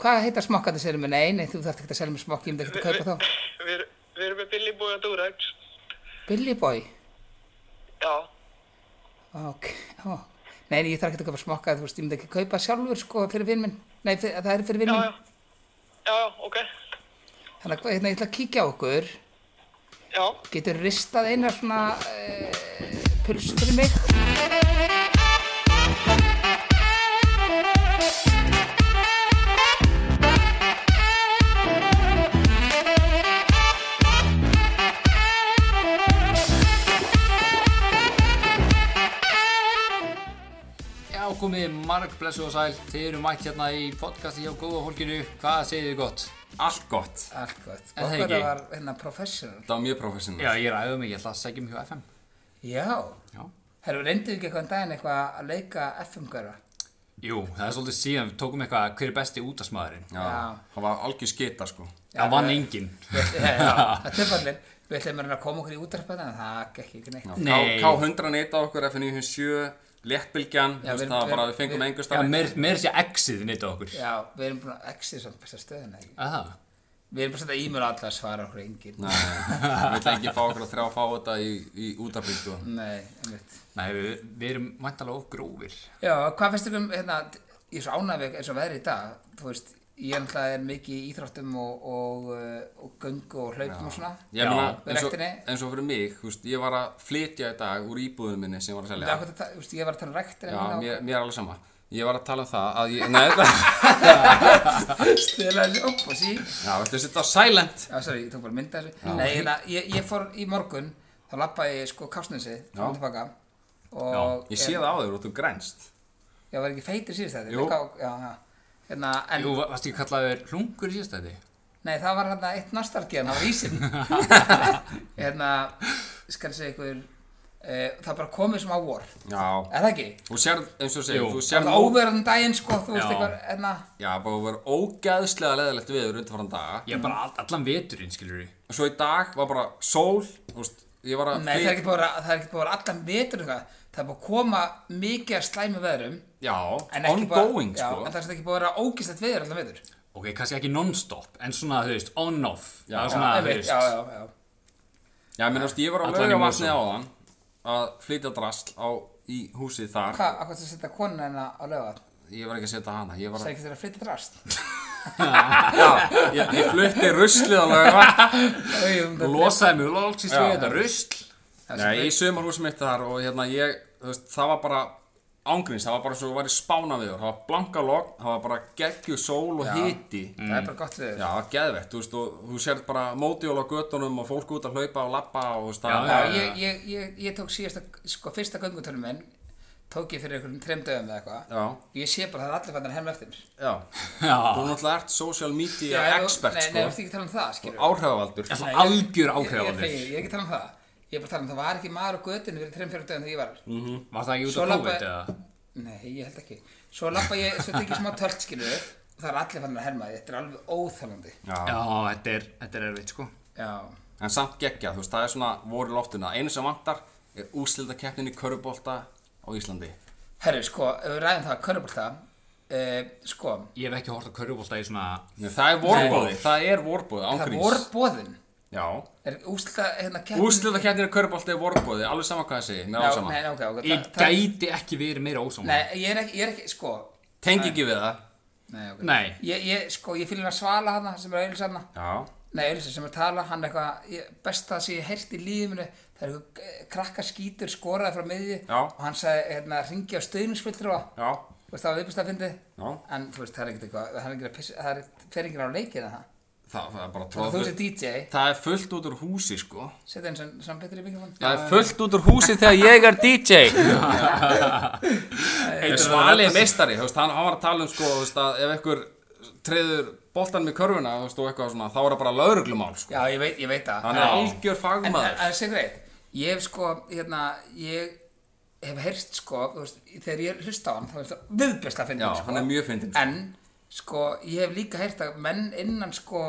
hvað heita smokkarnir sérum en nei, nei, þú þarft ekki að selja mér smokk, ég myndi ekki að kaupa þá. Við erum- við erum með Billy Boy og Durex. Billy Boy, Já, ok, ó. Nei, nei, ég þarf ekki að kaupa smokka, þú veist, ég myndi ekki að kaupa sjálfur, sko, fyrir vinn minn. Nei, fyrir, það er fyrir vinn já, minn. já. Já, já, ok. Þannig að hérna, ég ætla að kíkja á okkur. Já, Getur ristað eina svona uh, puls fyrir mig? Já, komið marg blessu og sæl, þið eru mætt hérna í podcasti hjá góða fólkinu, hvað segið þið gott? Allt gott. Allt gott. En það Okkur ekki. var hérna professional. Það var mjög professional. Já, ég ræði um mig, ég ætla að segja mig hjá FM. Já. Já. Herru, reyndu ekki eitthvað um daginn eitthvað að leika FM-görða? Jú, það er svolítið síðan, við tókum eitthvað hver er besti útasmaðurinn. Já. Það var algjör skita, sko. Það vann enginn. Það er töfallin. Við ætlum að reyna að koma okkur í útarpæðan, en það gekk ekki neitt. Já. Nei. K- K101 á okkur, FN97, léttbylgjan, Já, þú veist, við- það var bara, við- við fengum við- engur Já, stað. meir, meir sé exið nýtt á okkur. Já, við erum búin að exið samt besta stöðuna. ekki? Aha. Við erum bara svona e-mail á alla að svara okkur engin. Nei, við ætlum ekki að fá okkur að þrjá að fá þetta í, í útafbyrg, sko. Nei, einmitt. Nei, við, við erum mæntalega of grófir. Já, hvað finnst ykkur um, hérna, ég er svo ánægveg eins og veðri í dag, þú veist, ég náttúrulega er mikið í íþróttum og, og, uh, og göngu og hlaupum og svona. Ég meina, við eins og, rektinni. eins og fyrir mig, þú veist, ég var að flytja í dag úr íbúðinu minni sem ég var að Það er selja. okkur að ta- þú veist, ég var að tala um rektir Já, mér, mér er alveg sama. Ég var að tala um það að ég, nei, stila þessu upp og sí. já, ætlum að setja á silent. Já, sorry, ég tók bara að mynda þessu. Nei, hérna, ég, ég fór í morgun, þá lappaði ég sko kásnusið, þá kom tilbaka. Og Ég sé það á þér og þú grænst. Ég var ekki feitur síðust þetta. Jú. Já, já. Hérna, en, Jú, va- varstu ekki kallaður hlungur í síðastæti? nei, það var hérna eitt nastarkiðan, það var ísinn. hérna, ég skal segja ykkur, e, það bara komið sem á vor. Já. Er það ekki? Þú sérð, eins og þú Jú. segir, þú Það sérð var óverðan daginn, sko, þú veist Já. ykkur, hérna, Já, bara voru ógæðslega leðilegt viður undanfæran daga. Ég er bara all, allan veturinn, skilur við. Og svo í dag var bara sól, þú veist, ég var að... nei, það flyt- er ekki búið að, vera- það er ekki búið að vera allan vetur eitthvað. Það er búið að koma mikið að slæmi veðrum, en Já, ekki bara, ongoing, já, sko. en það er samt ekki búið að vera ógislegt veður allan vetur. Ok, kannski ekki non-stop, en svona, þú veist, on-off. það er Já. Já, svona, þú einmitt, veist. já, já, já. Já, ég meina, þú veist, ég var á Allan í laugavatni Mosó. áðan að flytja drasl á, í húsið þar. Hvað, hvað þú setja konuna hennar á lögat? Ég var ekki að setja hana, ég var Það er að... ekki þeirra að flytja drast. Já, ég, ég flutti ruslið á laugavatn. Þú losaði mjög lóksist við Já. þetta rusl. Nei, í sumarhúsum mitt þar og hérna ég, þú veist, það var bara ángríns, það var bara svo að væri spána við það var blanka logn, það var bara geggju sól og hiti. Mm. Það er bara gott við Já, geðvegt, þú veist, og þú sér bara mótjól á göttunum og fólk út að hlaupa og lappa og þú veist, það- já, Já, ég, ég, ég, ég tók síðasta, sko, fyrsta göngutörnum minn, tók ég fyrir einhverjum trem dögum eða eitthvað. já, Ég sé bara að það er allir fannir heim eftir mér. já, Já. þú náttúrulega ert social media Já, expert, nei, sko, Nei, þú ert ekki að tala um það, skilur. áhrifavaldur, Það er algjör Ég, ákveðanir. ég, ég er ekki að tala um það. Ég er bara að tala um það var ekki maður á götunni fyrir trem fyrir dögum þegar ég var. Mm. Var það ekki út Svo af labbaði- COVID eða? Nei, ég held ekki. Svo lappa ég, svo tek ég smá tölt, skilur, og það er allir fannir að herma. Þetta er alveg óþalandi. Já, þetta er, þetta er erfitt sko. Já. en samt geggja, þú veist, það er svona voru loftuna, einu sem vantar er úrslitakeppnin í körubólta á Íslandi, Herru, sko, ef við ræðum það, körnabólta, uh, sko, Ég hef ekki hort á körfubólta í svona... Nei, það er vorbóði, það er vorbóði, það ángríns, voru bóðin, já, er úslita, hérna, keppnin- úrslitakeppnin í körubólta er vorbóði, alveg sama hvað það segir, mér Já, er alveg nei, sama, nei, ok, ok, Ég það- gæti ekki verið meira ósáma. Nei, ég er ekki, ég er ekki, sko, tengi ekki við það, nei, ok. Nei. Ég, ég, sko, ég fylgir að svala hana, sem er auðvitað hana, já, nei, auðvitað sem er að tala, hann er eitthvað, ég, besta sem ég heyrti í lífinu, það er eitthvað eh, krakka skítur skoraði frá miðju Já. og hann sagði, hérna, ringi á stöðningsfylltrúa, já, þú veist, það var viðbúst að fyndi, já, en þú veist, það er ekkert eitthvað, það er ekkert að pissa, það er, fer ekkert á leikina það, það, það er bara þú tróð, veist, DJ, það er fullt út úr húsi, sko, setja henni sem, sem betur í mikrofón. Það er fullt út úr húsi þegar ég er DJ En Svali er meistari, þú veist, hann, hann var að tala um sko, þú veist, að ef einhver treður boltan með körfuna, þú veist, og eitthvað svona, þá er það bara lauruglumál, sko. Já, ég veit, ég veit það. Hann er algjör En fagmaður. það sé greið, ég hef sko, hérna, ég hef heyrst sko, þú veist, þegar ég hlusta á hann, þá er það viðbjörsla að finna Já, hann sko. hann er mjög fyndinn, sko. En, sko, ég hef líka heyrt að menn innan sko,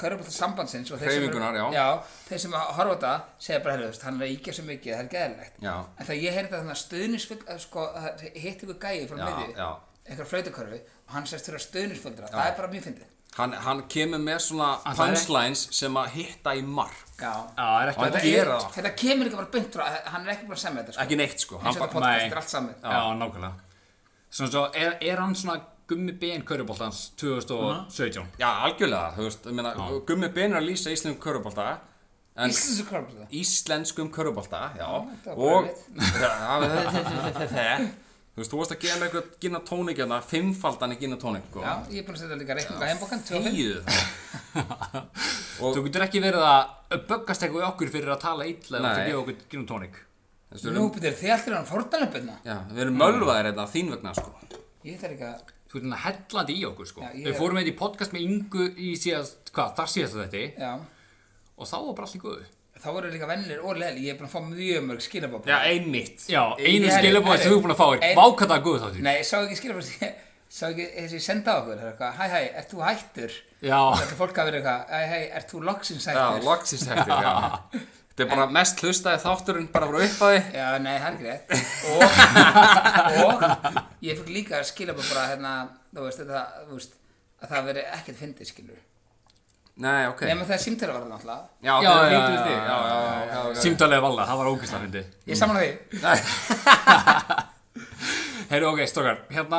körfbólta sambandsins og þeir sem eru- Hreyfingunar, já. Já, þeir sem að horfa á það, segja bara, heyrðu, þú veist, hann er að íkja svo mikið, það er geðilegt. Já. En þegar ég heyrði að þannig að stuðnisvill, sko, það hitt ykkur gæi frá Já, miðju, já. einhver flautukörfi og hann sérst fyrir stöðnisföldra, það er bara mjög fyndið. Hann, hann kemur með svona Hann- það er- punchlines sem að hitta í mark Já. Já, það er Hann ekki Þetta, gerir er, það. þetta kemur ekki bara beint frá, eh, hann er ekki bara að semja þetta sko. Ekki neitt sko Eins hann og þetta bara, podcast nei. er allt saman. Já, nákvæmlega Svona svo, er, er hann svona gummi ben köruboltans 2017? Já, algjörlega, þú veist, ég meina, Gummi Ben er að lýsa íslenskum körubolta en Íslensu körfi það. íslenskum körubolta, já, þetta var og bara Já, þú veist, þú veist að gefa mig eitthvað gina tónik hérna, fimmfaldan í gina tónik sko. Já, ég er búin að setja líka reikninga heimbókan, 25. Þýðu það Og- Þú getur ekki verið að böggast eitthvað í okkur fyrir að tala illa og Nei. þú gefa okkur gin og tónik Þú veist, við Nú erum- byrðir þið allir hann fórtalöpina. Já, við erum mölvaðir þetta þín vegna sko hérna? Ég ætla líka, Þú getur að hellandi í okkur sko Já, ég- Við fórum eitthvað í podcast með Ingu í síðast, hvað, þar síðast þetta já, og þá var bara allt í góðu þá voru líka vennilir og leðli, ég er búin að fá mjög mörg skilabópa. Já, einmitt Já, einu Ég- skilabóð sem þú er búin að fá er Ein- vákata að góðu þáttir Nei, ég sá ekki skilabópa, sá ekki þessi ég senda á okkur, það er eitthvað, hæ, hæ, ert þú hættur? Já, Þetta er fólk að vera eitthvað, hæ, hæ, ert þú loksins Já, hættur? loksins hættir, já Þetta er bara mest hlustaði þátturinn bara frá upphafi Já, nei, það er ekki rétt og, og ég fikk líka skilabópa bara hérna, þú veist, þetta, þú veist, að það veri ekkert fyndið skilur. Nei, ok Nefnum það er símtæra var það náttúrulega. Já, Já, já, það hlýtur já, þig já, Já, já, já, já, já. símdalega valla, það var ógæsla fyndi Ég er saman á því. Heyrðu, ok, stokkar, hérna,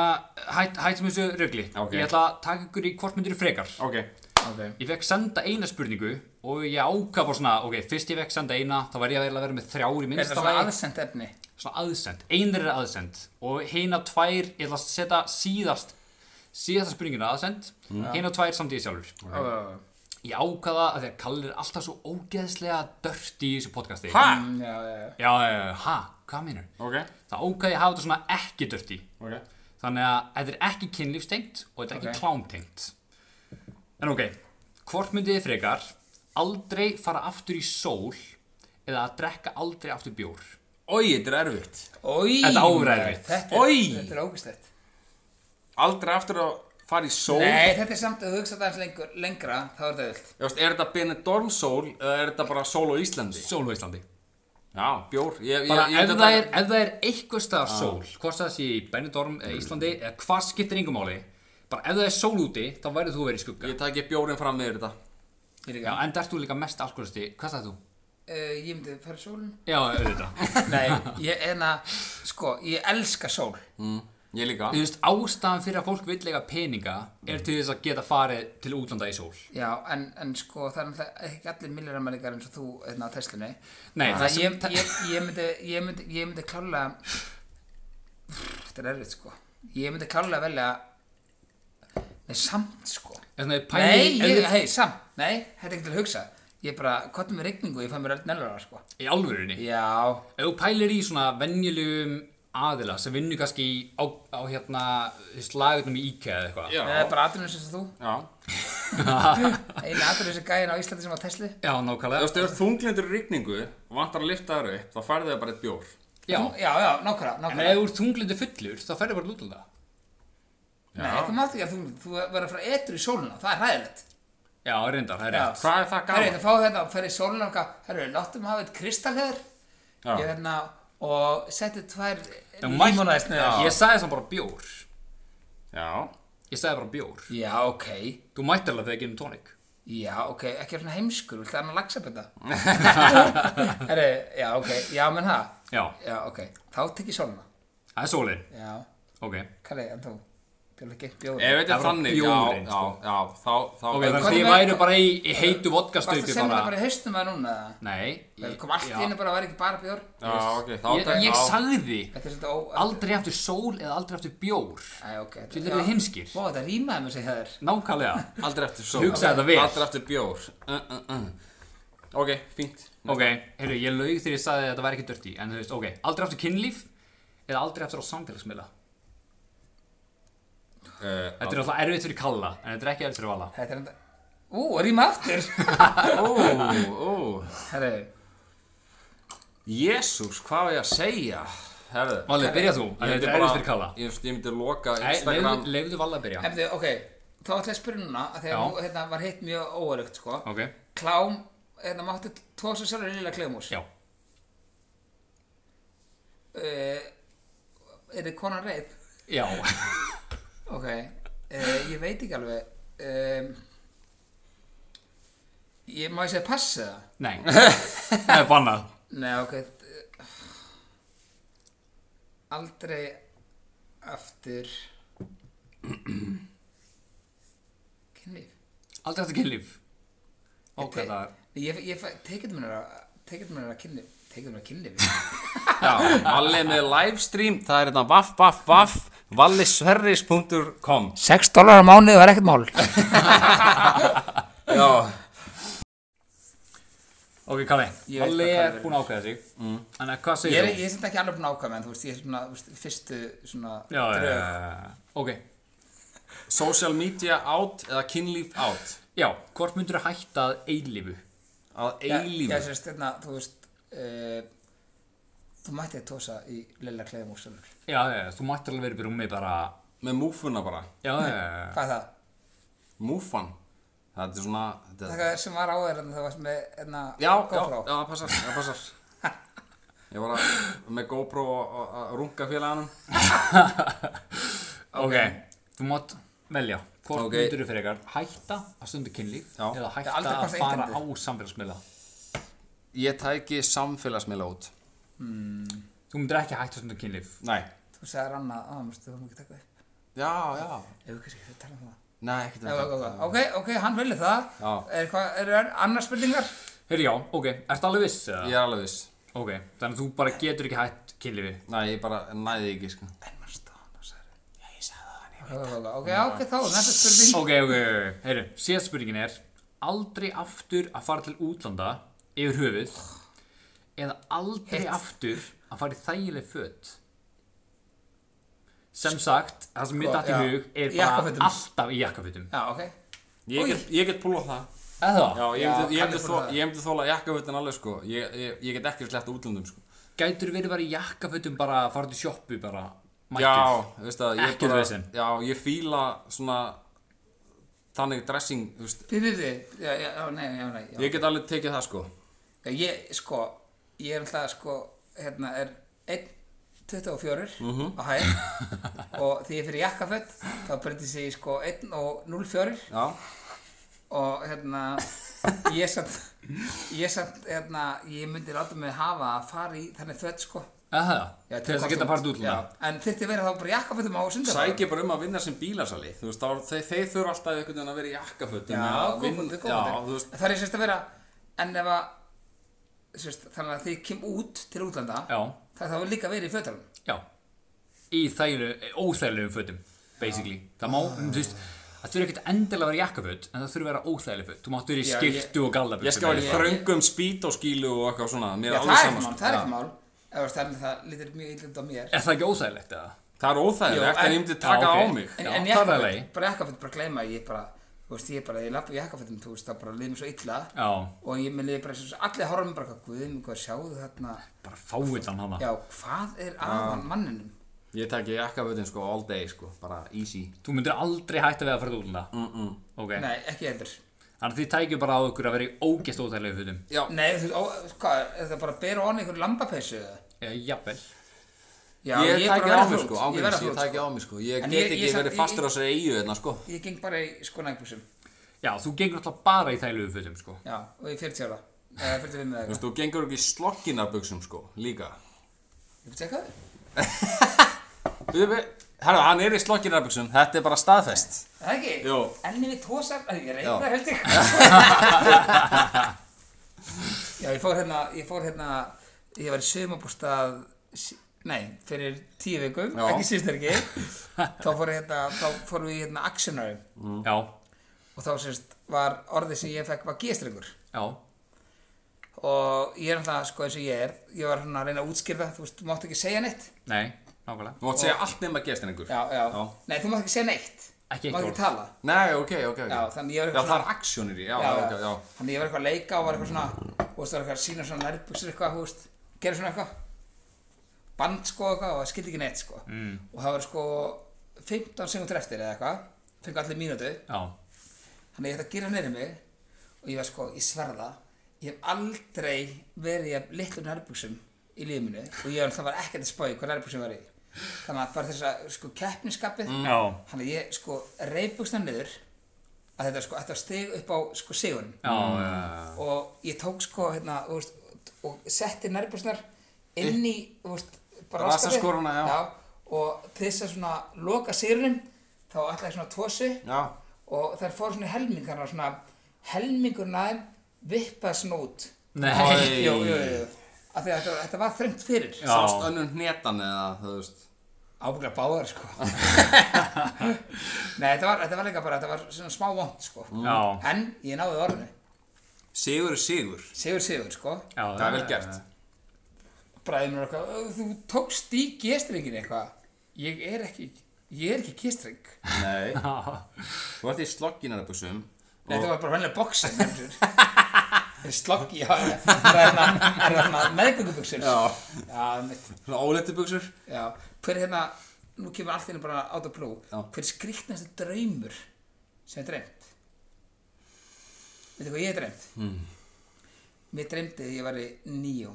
hætt hættum þessu rugli Ok. Ég ætla að taka ykkur í hvort myndir frekar Ok Okay. Ég fekk senda eina spurningu og ég ákvað bara svona, ok, fyrst ég fekk senda eina, þá var ég að eiginlega vera með þrjár í Er það minnsta svona lagi. aðsend efni? Svona aðsend, einir er aðsend og hina tvær, ég ætla að setja síðast, síðasta spurninguna aðsend, mm. hina tvær samt ég sjálfur. Okay. Ég ákvaða að því að Kalli er alltaf svo ógeðslega dörft í þessu podcasti. Ha? Mm, já, já, já. Já, já, já, já, ha, hvað meinar? Ok, Það ákvaði ég að hafa þetta svona ekki dörft í. ok Þannig að þetta er ekki kynlífstengt og þetta er Ok. ekki klámtengt. En ok, hvort myndið þið frekar aldrei fara aftur í sól eða að drekka aldrei aftur bjór? Oj, þetta er erfitt Ói, Þetta er óræðvitt. Þetta Oj. er- þetta er ógustett. Aldrei aftur að fara í sól Nei, þetta er samt að hugsa það lengur, lengra, þá er þetta vilt. Þú veist, er þetta Benidorm sól eða er þetta bara sól á Íslandi? Sól á Íslandi. Já, bjór Ég, ég, Bara ég, ef, það er, ef það er eitthvað staðar sól, hvort það sé í Benidorm eða Íslandi eða hvað skiptir engum máli, bara ef það er sól úti, þá værið þú að vera í skugga. Ég taki bjórinn fram með þetta Ég, Já, líka. en dert þú líka mest alkoholisti, hvað sagði þú? uh, ég myndi fara í sólun. Já, auðvitað. Nei, ég, en að, sko, ég elska sól. Ég líka Þú veist, ástæðan fyrir að fólk vill eiga peninga er til þess að geta farið til útlanda í sól. Já, en, en sko, það er náttúrulega ekki allir milliramerikar eins og þú, hérna, á Teslunni. Nei, Það það ég, ég, ég myndi, ég myndi, ég myndi klálega, þetta er erfitt, sko. Ég myndi klálega velja, nei, samt, sko. Nei, Nei, ég, hei, samt, nei, þetta er ekki til að hugsa. Ég bara, hvað er með rigningu, ég fæ mér öll nellara, sko. í alvörunni Já, ef þú pælir í svona venjulegum aðila sem vinnur kannski í- á, á hérna slagunum í IKEA eða eitthvað Já, það er bara aðrunum sem þú. já Einu aðrunum sem gæðin á Íslandi sem á Tesli. já Þú nákvæmlega veist, ef þunglindur í rigningu og vantar að lifta þær upp, þá færðu þau bara eitt bjór já. já, já, nákvæmlega, en nákvæmlega. ef þú ert þunglindi fullur þá ferðu bara til útlanda Nei, þú mátt ekki að þú, þú verður að fara etru í sóluna, það er hæðilegt. já, reyndar, það er Já. rétt Hvað er Herri, það hérna, það gaman? fá þetta að fara í sóluna og hvað, herri, láttum hafa eitt kristalleður Já. ég hérna, og settu tvær Já, mætt- límonæðisneiðar. ég sagði það bara bjór Já, ég sagði bara bjór Já, ok, þú mættir alveg að gera um tónik já, ok, ekki svona heimskur, viltu hann að lagsa betta? herri, já, ok, já, menn það, já, já, ok, þá tek ég sóluna. það er sólin Já, ok, Kalli, en þú, bjóðu ekki bjóður. ef Það þetta er var þannig, já, bjórinn, já, sko. já, þá, þá ok, þannig hvað að er ég með- væri bara í, í heitu Varst vodkastauku það sem þetta bara í haustum að núna? eða? nei, Það kom allt í já. einu bara að vera ekki bara bjór. Já, ok, þá ég, ég já. sagði því Þetta er svolítið ó... aldrei aftur sól eða aldrei aftur bjór Æ, ok. þetta- Þú já. erum heimskir Vá, þetta rýmaði mér sig hefur. Nákvæmlega Aldrei eftir sól Hugsaðu þetta vel. Aldrei eftir bjór uh, uh, uh. Ok, fínt Ok, heyrðu, ég laug þegar ég sagði að þetta væri ekki dörti En þú veist, ok, aldrei aftur kynlíf Eða aldrei aftur á samfélagsmiðla uh, Þetta er alltaf erfitt fyrir Kalla En þetta er ekki erfitt fyrir Vala Þetta er enda... Ú, rýma aftur. Ó, ó Herru, Jésús, hvað var ég að segja? Herðu Valli, byrja þú, en myndi þetta er erfitt fyrir Kalla Ég, ég myndi loka Nei, Instagram leifðu- Leifðu Valla að byrja ef þið, ok, þá ætla ég að spyrja núna, að því Já. að nú, hérna, var hitt mjög óarugt, sko. Ok, Klám, hérna, máttu tósa sjálfur í lilla klefumús. já Eh, Uh, er þið konan reyð? Já Ok, uh, ég veit ekki alveg um, Ég má ég segja passa það? Nei, það er bannað Nei, ok þ- Aldrei aftur Kynlíf Aldrei aftur kynlíf Ok, Ég te- það er Ég, ég tekið mér að tekið mér að kynlíf tekið mér að kynlíf Já, Valli er með livestream, það er hérna vaff, vaff, vaff, vallisverris.com 6 dólar á mánuði var ekkert mál Já, Ok, Kalli, Ég veit hvað Valli Kalli er verður. búin að ákveða sig Þannig að hvað Ég segir er, þú? ég er þetta ekki alveg búin að ákvæða en þú veist, ég er svona, þú veist, fyrstu svona Já, já, drög. já, já. ok social media out eða kynlíf out Já, hvort myndur þú hætta að eilífu? að Já, Já, eilífi sérst, hérna, þú veist uh, Þú mætti að tósa í lilla kleiðamúrsalur Já, já, já, þú mættir alveg verið rúmi bara með múfuna bara, Já, já, já, já Hvað er það? múfan þetta er svona þetta, Það sem var á þér en það varst með hérna, Já, já, já, GoPro. það passar, það passar Ég var að, með GoPro að- að að runga félaganum Ok, þú mátt velja Hvort Ok. okay. myndur þú fyrir ykkar hætta að stundu kynlíf Já. Eða hætta aldrei að kosta fara á internetið. samfélagsmiðla Ég tæki samfélagsmiðla út Þú myndir ekki hætta að stundu kynlíf Nei, Þú sagði Ranna, á, mérstu, þú má ekki taka upp já, já Ef við kannski ekki tala um það Nei, ekkert Já, ok, ok, ok, ok, hann vilja það Já. Er hvað, eru er annars spurningar? Heyri, já, ok, ertu alveg viss? eða? Ég er alveg viss Ok, þannig að þú bara getur ekki hætt kynlífi Nei, ég bara næði ekki, sko En mannstu hann og sagði Já, ég sagði það hann, ég veit það Ok, ok, ok, þá, næsta spurning Ok, ok, ok, heyri, síðast spurningin er Aldrei aftur að fara til útlanda yfir höfuð Eða aldrei aftur að fara í þægileg föt Sem sagt, það sem mér Sko, datt í já. hug er Í bara jakkafötum. alltaf í jakkafutum Já, ok Ég get, ég get púlað það Eða það? Já, Já, ég myndi- ég Kalli myndi fór þó- það. ég myndi þóla jakkafutin alveg, sko Ég, ég, ég get ekki sleppt útlöndum, sko Gætur verið bara í jakkafutum bara að fara til sjoppu bara Já, þú veist að ég Ekkert bara vesen. Já, ég fíla svona Þannig dressing, þú veist Þið, þið, þið, já, já, já, nei, já, nei já. Ég get alveg tekið það, sko Já, Ég, sko, ég er alltaf, sko, hérna, er 1.24 á hæð og því ég fyrir jakkaföld þá breytir sig í, sko, 1 og 0.4 Já, og, hérna, ég satt, ég satt, hérna, ég myndi láta mig hafa að fara í þannig þvöld, sko. Eða það? Já, Til þess að geta farið til útlanda Já, en þyrfti að vera þá bara jakkaföldum á sundar. sækja bara um að vinna sem bílasali Þú veist, þá- þeir, þeir þurfa alltaf einhvern veginn að vera í jakkafötum Já, eða vin- góðbundir, Já, þú góðbundir. veist Það er sérst að vera, en ef að, sérst, þannig að þið kem út til útlanda, Já. það þá líka verið í fötalum. Já, í þægilegu, óþægilegum fötum, basically. Það má, Ah. þú veist, það þurfi ekkert endilega að vera jakkaföt, en það þurfi að vera óþægileg föt. Þú máttu verið Já, í ég- skiltu og gallabötu. Ég skal vera í Ég- þröngum spýtóskílu og eitthvað svona Já, Mér er það alveg er sama, ekki mál, sko. það er Já. ekki mál Ef þú veist, þannig að það lítur mjög illa út á mér Er það ekki óþægilegt eða? Það er Jú, óþægilegt, en en- ég myndi taka Já, á ok. mig En, Já, en það er jakkaföt, lagi. bara jakkaföt, bara gleyma Ég bara, þú veist, ég bara, ég lappa í jakkafötum Þú veist, það bara liður mér svo illa Já. Og ég með liður bara, svo, allir horfum mér bara Guðum, hvað sjáðu þarna Bara fáiðan hana. Já, hvað er aðan manninum? Ég taki jakkafötin sko all day sko, bara easy Þú myndir aldrei hætta við að fara til útlanda. Mm -mm. Ok, Nei, ekki heldur þannig að þið tækju bara á ykkur að vera í ógæst óþægilegu fötum. Já, Nei, þú veist, ó, hvað, er það bara að bera onni einhver lambapeysu eða? Já, Eh, jafnvel. Já, ég er bara tæki að á vera mig þrjótt, sko, Ég verða ángríns, ég þrjótt, tæki sko á mig sko Ég En ég- get ég ekki samt- verið ég- fastur á þessari eigu þarna sko Ég geng bara í sko nægbúsum Já, þú gengur alltaf bara í þægilegu fötum, sko. Já, og ég 40 ára Eða 45 eða Þú eitthvað veist, þú gengur ekki í slokkinarbuxum sko, líka Ég veit ekki hvað Bíðu, bíðu, herra, hann er í slokkinarbuxum, þetta er bara staðfest Er Það ekki? Jú. Enni við tósar, Æ, ég Já. reyna held ég. Já, ég fór hérna, ég fór hérna, ég var í sömabústað, sí- nei, fyrir tíu vikum, Já. ekki síðust ekki. þá fór ég hérna, þá fórum við í hérna actionari Mm. Já, og þá sérst var orðið sem ég fekk var g-strengur. já, Og ég er náttúrulega, sko, eins og ég er, ég var hérna að reyna að útskýrða, þú veist, þú mátt ekki segja neitt. nei, nákvæmlega. Þú mátt segja allt nema gestrengur Já, já. Já. Nei, þú mátt ekki segja neitt. Ekki Þú mátt eitt ekki tala. Nei, ok, ok, ok Já, þannig ég var Já, eitthvað það er aksjónir í, já, já, ok, já Þannig ég var eitthvað að leika og var eitthvað svona Þú veist, það var eitthvað að sína svona nærbuxur eitthvað, þú veist Gerðu svona eitthvað Band sko eitthvað og það skildi ekki neitt sko mm. Og það var sko 15 sekundur eftir eða eitthvað Fengu allir mínútu Já, Þannig ég ætti að gera neyri mig Og ég var sko, ég sverða Ég hef aldrei verið í jafn litlum nærbuxum í lífinu Og ég var alltaf var ekkert að spá í hvað nærbuxum var í þannig að bara þess að sko keppniskapið Já. þannig að ég sko reyfbúst hann niður að þetta sko þetta var stig upp á sko sigurinn Já, já, og ég tók sko hérna þú veist, og setti nærbústnar inn í þú veist, bara raskatið. Rassaskoruna, já. og til þess að svona loka sigurinn þá ætlaði ég svona tósi Já. og þær fóru svona í helming þannig að svona helmingur næðin vippaði svona út Nei. Æ. jú, jú, jú, jú. Af því að þetta, þetta var þrengt fyrir Já. Sást önnum hnetan eða, þú veist. ábygglega báðar sko nei þetta var, þetta var líka bara þetta var svona smá vond sko Já. en ég náði orðinu Sigur er sigur. sigur sigur sko já Það er vel gert. bræðið mér okkar "Ö, þú tókst í gestringin eitthvað ég er ekki ég er ekki gestring nei Nei. Já. Þú ert í slogginarabusum. þetta var bara vennilega boxin slokki já, já. það er hérna- það er hérna meðgöngubuxur Já. já, mitt Svona óleittubuxur. Já, hver er hérna, nú kemur allt hérna bara át af blú, Já. hver er skrýtnasta draumur sem er dreymt? Veitu hvað ég er dreymt? Mm. Mér dreymdi því ég var í Neo,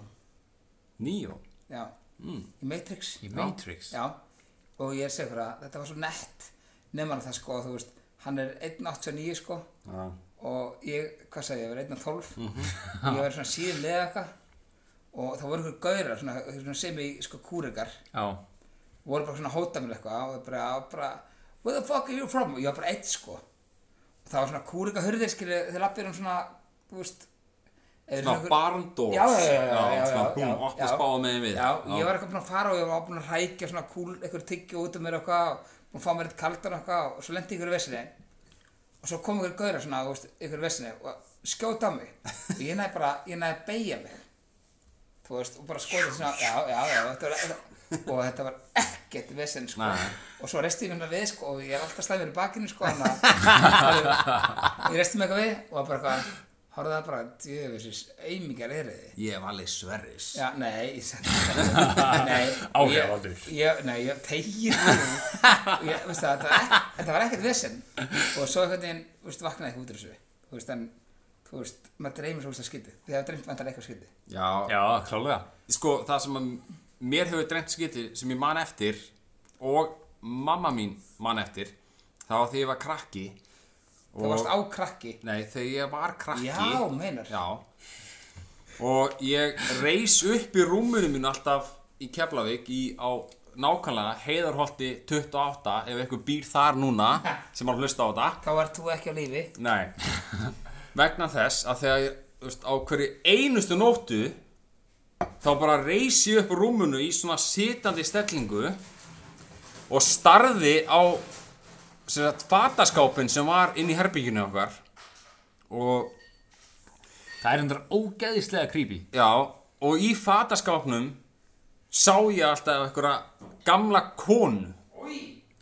Níó. já, mm. í Matrix. Í Matrix? Já, já. og ég er segur að þetta var svo nett, nefnir það sko, þú veist, hann er 1.89 sko Já. og ég, hvað sagði ég, ég var 1.12, ég var svona síðanlega eitthvað og það voru ykkur gaurar, svona, svona sem í sko kúrikar Já. voru bara svona að hóta mér eitthvað og bara, bara where the fuck are you from og ég var bara eitt sko og það var svona kúrika hurðir skilju þeir lappir um svona þú veist eða Svona einhver- barn doors. já, já, já, já, já, Svona já, búm, já, opna já. spáða megin við. já, ég var eitthvað búinn að fara og ég var búinn að hrækja svona kúl eitthvað tyggju út um mér og eitthvað og búinn að fá mér eitt kaldan og eitthvað og svo lendi ykkur í vesinni og svo kom ykkur gauðra svona þú veist, ykkur í vesinni og skjóta á mig og ég næði bara, ég næði að beigja mig þú veist, og bara skoði svona já, já, já, þetta var e- og þetta var ekkert vesinn sko. Nei. og svo resti ég minna við sko, og ég er alltaf slæmur í bakinu sko, þannig að- ég resti mig eitthvað við og bara eitthvað, horfði það bara djöfisins, eimingar eru þið Ég var alveg sverris. Já, nei, ég sendi það Nei, Áhrifavaldur. ég- ég- Nei, ég tegir ég, veistu það, það, var ekk- þetta var ekkert vesen og svo einhvern veginn, þú veist, vaknaði ekki út úr þessu þú veist, en, þú veist, maður dreymir svo úrst að skytið, þið hafa dreymt vantar eitthvað skytið Já. Já, klálega. Sko, það sem að mér hefur dreymt skiti sem ég man eftir og mamma mín man eftir það var þegar ég var krakki og, þú varst á krakki Nei, þegar ég var krakki Já, meinar Já Og ég reis upp í rúmunu mínu alltaf í Keflavík í á nákvæmlega heiðarholti 28 ef einhver býr þar núna sem var að hlusta á þetta Þá var þú ekki á lífi Nei Vegna þess að þegar ég, þú veist, á hverju einustu nóttu þá bara reis ég upp úr rúmunu í svona sitandi stellingu og starði á sem sagt fataskápin sem var inn í herbygginu okkar og Það er hendur ógeðislega creepy. já og í fataskápnum sá ég alltaf einhverja gamla konu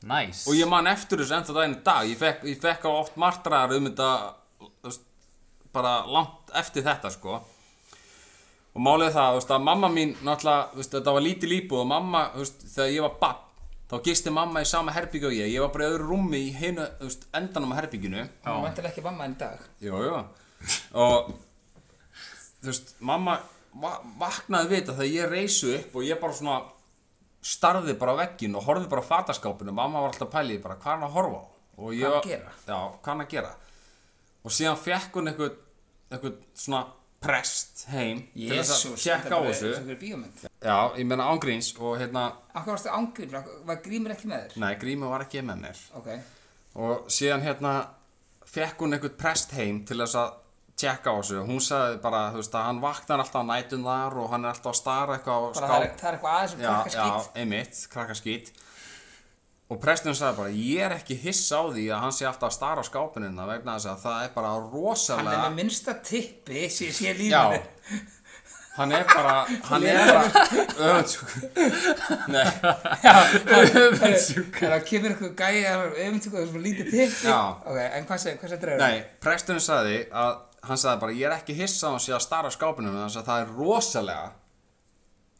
Nice. og ég man eftir þessu ennþá daginn í dag ég fekk, ég fekk á oft martraðar um þetta þú veist, bara langt eftir þetta sko og málið er það þú veist, að mamma mín náttúrulega þú veist, þetta var lítið lípu og mamma þú veist, þegar ég var bann þá gisti mamma í sama herbyggju og ég ég var bara í öðru rúmi í heinu þú veist, endanum á herbygginu Þú vantar ekki mamma enn dag Jú, jú Og Þú veist, mamma va vaknaði við þetta þegar ég reysu upp og ég bara svona starði bara á veggin og horfði bara á fataskápinu mamma var alltaf pælið bara hvað er hann að horfa á og ég, Hvað hann að gera? Já, hvað hann að gera og síðan fekk hún eitthvað eitthvað svona prest heim Jésús, til þess að tjekka á þessu er bíómynd Já, ég meina ángríns og hérna Akkur varstu ángrímur, af- var grímur ekki með þér? Nei, grími var ekki með mér Ok, og síðan hérna fekk hún einhvern prest heim til þess að tjekka á þessu hún sagði bara, þú veist, að hann vaknar alltaf á nætun þar og hann er alltaf að stara eitthvað á bara það er, skáp það er eitthvað aðeins um já, krakka já, einmitt, krakkaskít og presturinn sagði bara ég er ekki hiss á því að hann sé alltaf að stara á skápinina vegna þess að það er bara Hann er rosalega með minnsta tippi sem ég sé já lífinu hann er bara hann er bara öfundsjúkur nei, Það er að kemur einhver gæja öfundsjúkur og svona lítið tipp Já. Ok, en hvað segir, hvað segir draugur? nei presturinn sagði að hann sagði bara ég er ekki hiss á að hann sé að stara á skápinina vegna þess að það er rosalega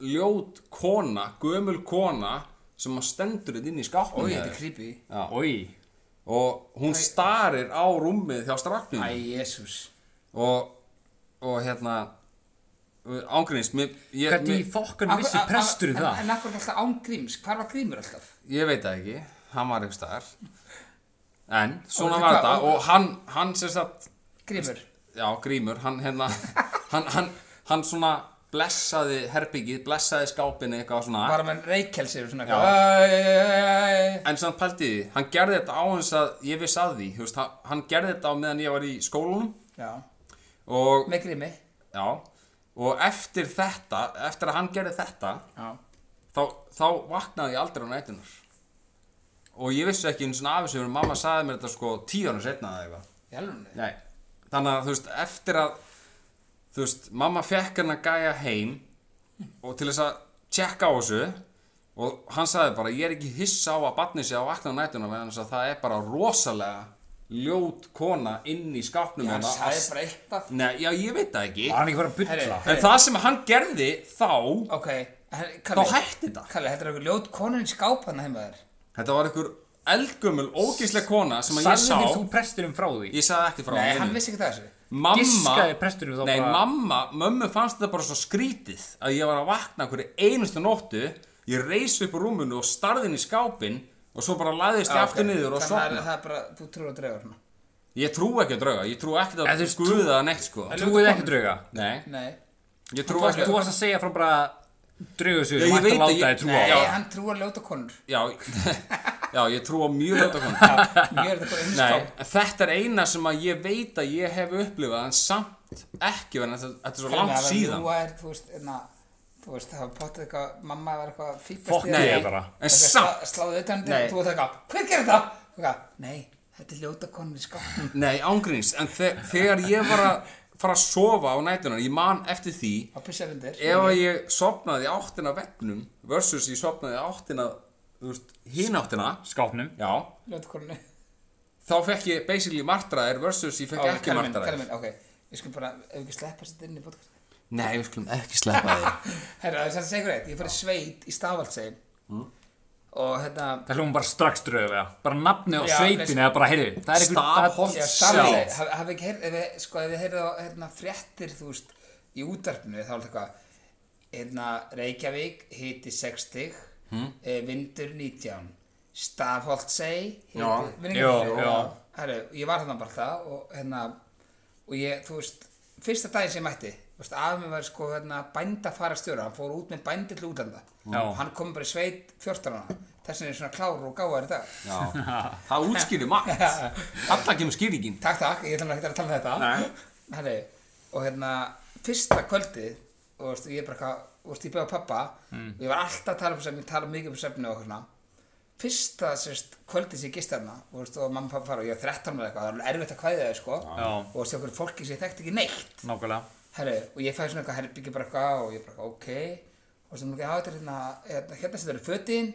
ljót kona, gömul kona sem að stendur þetta inn í skápnum Ói, hjá þetta er þér. creepy Ói. og hún starir á rúmið hjá strafnum Æ, jésús og, og hérna ángriðins ég, Ah, Hvernig í mér- fokkanum vissi Akkur- presturinn en- ah, það? En akkur alltaf án gríms, hvar var grímur alltaf? ég veit það ekki, hann var einhver staðar en svona Og var hvað- þetta og- og hann, hann sem sagt Grímur já, grímur, hann hérna hann, hann, hann svona blessaði herbyggið, blessaði skápinni eitthvað svona Var með reykjelsi og svona Já. eitthvað En samt pæltið því, hann gerði þetta á hans að ég viss að því, þú veist, hann- hann gerði þetta á meðan ég var í skólanum Já, og, með grími já, og eftir þetta, eftir að hann gerði þetta, Já, þá, þá vaknaði ég aldrei á nætunar. Og ég vissi ekki eins og af þessu, mamma sagði mér þetta sko tíu ára setna eða eitthvað. í alveg Nei. Þannig að þú veist, eftir að, þú veist, mamma fekk hann að gæja heim og til þess að tjekka á þessu og hann sagði bara, ég er ekki hissa á að barnið sé að vakna á nætuna vegna þess að það er bara rosalega ljót kona inn í skápnum Hann hennar. sagði bara eitthvað Nei, já, ég veit það ekki. Var hann ekki bara að bulla? Herri. En það sem hann gerði þá, Ok, her- þá Kalli, hætti þetta. Kalli, þetta er eitthvað ljót konurinn skáp hann heima þér Þetta var einhver eldgömmul, ógíslega kona sem að ég Sagði þér þú sá, presturinn frá því? ég sagði ekki frá Nei, henni. hann vissi ekki það þessu Mamma, Giskaði presturinn þá Nei, bara- mamma, mömmu fannst þetta bara svo skrítið að ég var að vakna hverju einustu nóttu ég reis upp úr rúmunu og starði inn í skápinn og svo bara laðist ég Já, aftur Ah, ok. niður Þannig og að sofna það er bara, þú trúir að dreifa svona Ég trú ekki að drauga, ég trú ekki En að þú veist, guða eða neitt sko Trúið ekki drauga? Nei, Nei ég Þú trú varst, ekki þú að varst að segja frá bara draugasögu sem Já, ég ætti veit að láta að ég- þið trúa Nei, á. Já. hann trúar ljóta konur Já, já, ég trú á mjög hlut að konu Mér er þetta bara Nei, umskáp en þetta er eina sem að ég veit að ég hef upplifað en samt ekki verið þetta þetta er svo langt síðan Þú er, þú veist, enna Þú veist, það var pottið eitthvað, mamma var eitthvað fíkast Fokk þér. ég Nei, bara. en samt Sláðu utan Nei. þér, þú veist eitthvað Hver gerir það? Þú veist, Nei, þetta er ljóta konur í skápnum Nei, ángríns, en þe þegar ég var að fara að sofa á nætunar, ég man eftir því Á pissar undir ef að ég sopnaði í áttina að veggnum versus ég sopnaði í áttina þú veist, hín áttina Skápnum. já, Ljóta konur þá fekk ég basically martraðir versus ég fekk ekki Kalli minn, Kalli martraðir minn, ok Ég skal bara, ef ekki sleppa sér inn í podcast Nei, við skulum ekki sleppa þig Herra, það er sann segur eitt, ég fyrir sveit í Stafaldsegin Og hérna, Það hljóma bara strax drauga. Bara nafni og Já, sveitin nei, eða bara, heyrðu, það er einhver... Stafholt Já, sjálf starfið, hafið ekki heyrð, ef við, sko, ef við heyrðu á hérna, fréttir, þú veist, í útarpinu, þá er þetta eitthvað, hérna, Reykjavík, hiti 60, hmm? e, vindur 19, Stafholtsey, Já. hiti, Jú, já. Herru, ég var þarna bara það og hérna, og ég, þú veist, fyrsta daginn sem ég mætti, þú veist, afi mér var sko, hérna, bændafarastjóra, hann fór út með bændi til útlanda, Já. hann kom bara í sveit 14 ára, þess vegna er ég svona kláru og gáðar í dag. Já, það útskýrir margt Alla kemur skýringin Takk, takk, ég ætla nú ekki að tala um þetta Herri, og hérna, fyrsta kvöldi og veist, ég er bara eitthvað, þú veist, ég beða pappa og ég var alltaf að tala um sem ég tala mikið um svefni og eitthvað svona fyrsta sérst, kvöldi sem ég gist þarna og, veist, og mamma og pappa fara og ég var 13 með eitthvað það var erfitt að kvæða þau sko Já. og veist, okkur fólki sem ég þekkti ekki neitt Nákvæmlega. Herri, og ég fæði svona eitthvað herbyggja bara eitthvað og ég bara eitthvað, ok og sem ekki hafa þetta er hérna, hérna, hérna sem þetta eru fötin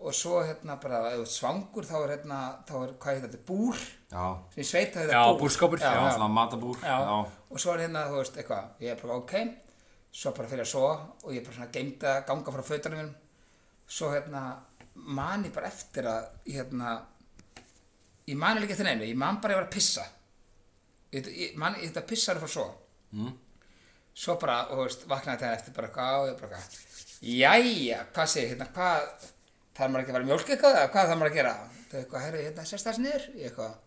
og svo hérna bara, ef þú ert svangur þá er hérna, þá er, hvað heit þetta, búr Já, sem ég sveit að þetta Já, er búr. búrskapur, já, já, já. svona matabúr Já. og svo er hérna, þú veist, eitthvað, ég er bara ok svo bara fyrir að sofa og ég er bara svona geimt að ganga frá fötunum mínum svo hérna, man ég bara eftir að hérna, ég man ekki eftir neinu, ég man bara að ég var að pissa ég, ég man, ég þetta pissa er að fara að sofa mm. svo bara, þú veist, vaknaði þetta eftir bara eitthvað og ég bara eitthvað jæja, hvað segir, hérna, hvað þarf maður ekki að vera mjólk eitthvað, eða hvað þarf maður að gera þau eitthvað, herri, hérna, sérst það sniður ég eitthvað,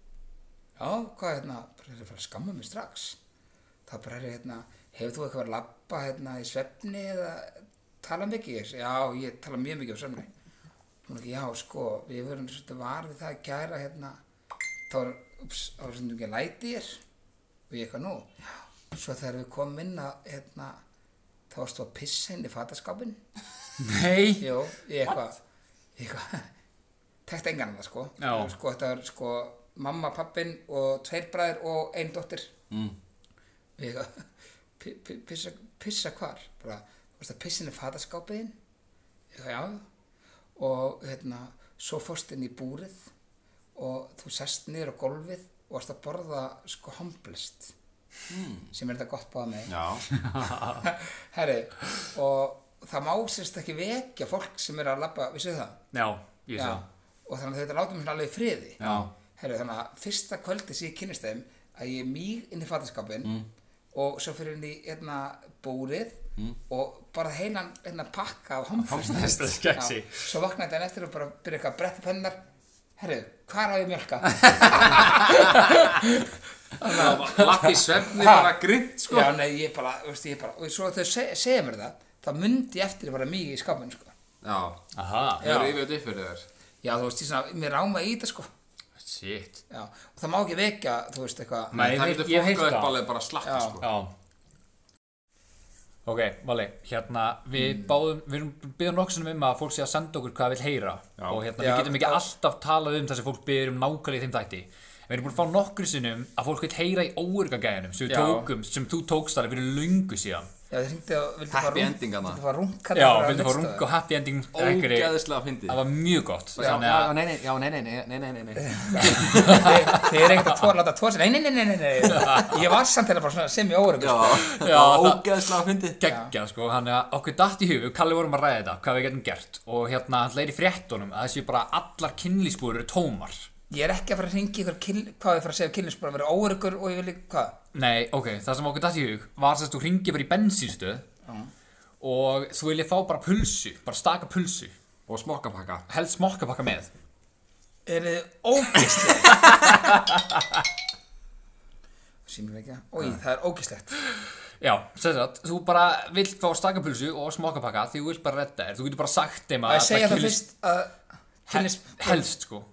já, hvað hérna, bara er að fara að skamma mig strax þá bara er ég hérna, hefur þú eitthvað að labba hérna í svefni eða tala mikið, Ég segi, já, ég tala mjög mikið á svefni hún ekki, já, sko við verðum svolítið var við það að kæra hérna, þá er ups, þá er svolítið ekki læti í þér og ég eitthvað nú, já, svo þegar við komum inn að hérna, þá varstu að pissa inn í fataskápin Nei. Jú, ég eitthvað ég eitthvað tekst engan annað sko Já. sko þetta er sko mamma, pappin og tveir bræðir og ein dóttir mm. ég eitthvað pi- pi- pissa, pissa hvar bara, þú veist að pissin er fataskápiðin ég eitthvað já og hérna, svo fórst inn í búrið og þú sest niður á gólfið og varst að borða sko homblist Mm. sem er þetta gott báða mig já, Herri, og það má sérst ekki vekja fólk sem er að labba, vissu það? Já, ég sé það. Og þannig að þetta látum hérna alveg í friði. já. Herri, þannig að fyrsta kvöldi sem ég kynnist þeim að ég er mýg inn í fattaskapin og svo fyrir henni hérna búrið og bara heilan hérna, pakka af hamfrest Hamfrest, kexi. svo vaknaði hann eftir og bara byrja eitthvað að bretta upp hennar herru, hvað er að ég mjölka? Lappi svefni bara grimt sko já, nei, ég bara, veist, ég bara og svo þau seg, segja mér það þá myndi ég eftir bara mikið í skapinu sko. Já, Aha, það er yfirleitt upp fyrir þér já, þú veist, ég svona, mér ráma í þetta sko shit já, og það má ekki vekja, þú veist, eitthvað Nei, Það ég getur veit- ég hef heyrt fólkað upp það alveg bara slakka Já. sko Já Ok, Vali, hérna við Mm. báðum, við erum byggðum nokkusunum um að fólk sé að senda okkur hvað það vil heyra Já. og hérna Já, við getum ekki það- alltaf talað um það sem fólk byggður um nákvæmlega í þeim þætti Við erum búin að fá nokkur sinnum að fólk vil heyra í óurgagæðunum sem við Já. tókum, sem þú tókst alveg fyrir löngu síðan Já, þið hringdi og vildi fá Happy rúnk- ending þarna. Vildi fá runga Já, við erum fá runga og happy ending rekkri. Ógeðislega fyndið Það var mjög gott Já, Þannig já, að nei, nei, já, nei, nei, nei, nei, nei, nei Þið er ekkert að tóra, láta tóra sér Nei, nei, nei, nei, nei, nei Ég var samt þeirra bara svona sem ég órum Já, það það- var ógeðislega fyndið geggja sko, þannig að okkur datt í hug Kalli vorum að ræða þetta, hvað við getum gert og hérna hann leir í fréttunum að þessi bara allar kynlísbúður eru tómar Ég er ekki að fara að ringi ykkur kil, hvað ég fara að segja kynlisbúr að vera óörugur og ég vil ekki, hvað? Nei, ok, það sem okkur datt í hug var sérst þú ringið bara í bensínstöð og þú viljið fá bara pulsu, bara staka pulsu Og smokkapakka helst smokkapakka með Er þið ógislega? Sýmur ekki að Ói, það er ógislegt Já, sérst að þú bara vilt fá staka pulsu og smokkapakka því þú vilt bara redda þér, þú getur bara sagt þeim Að að ég segja það kynlís- fyrst að kynlis hel- helst sko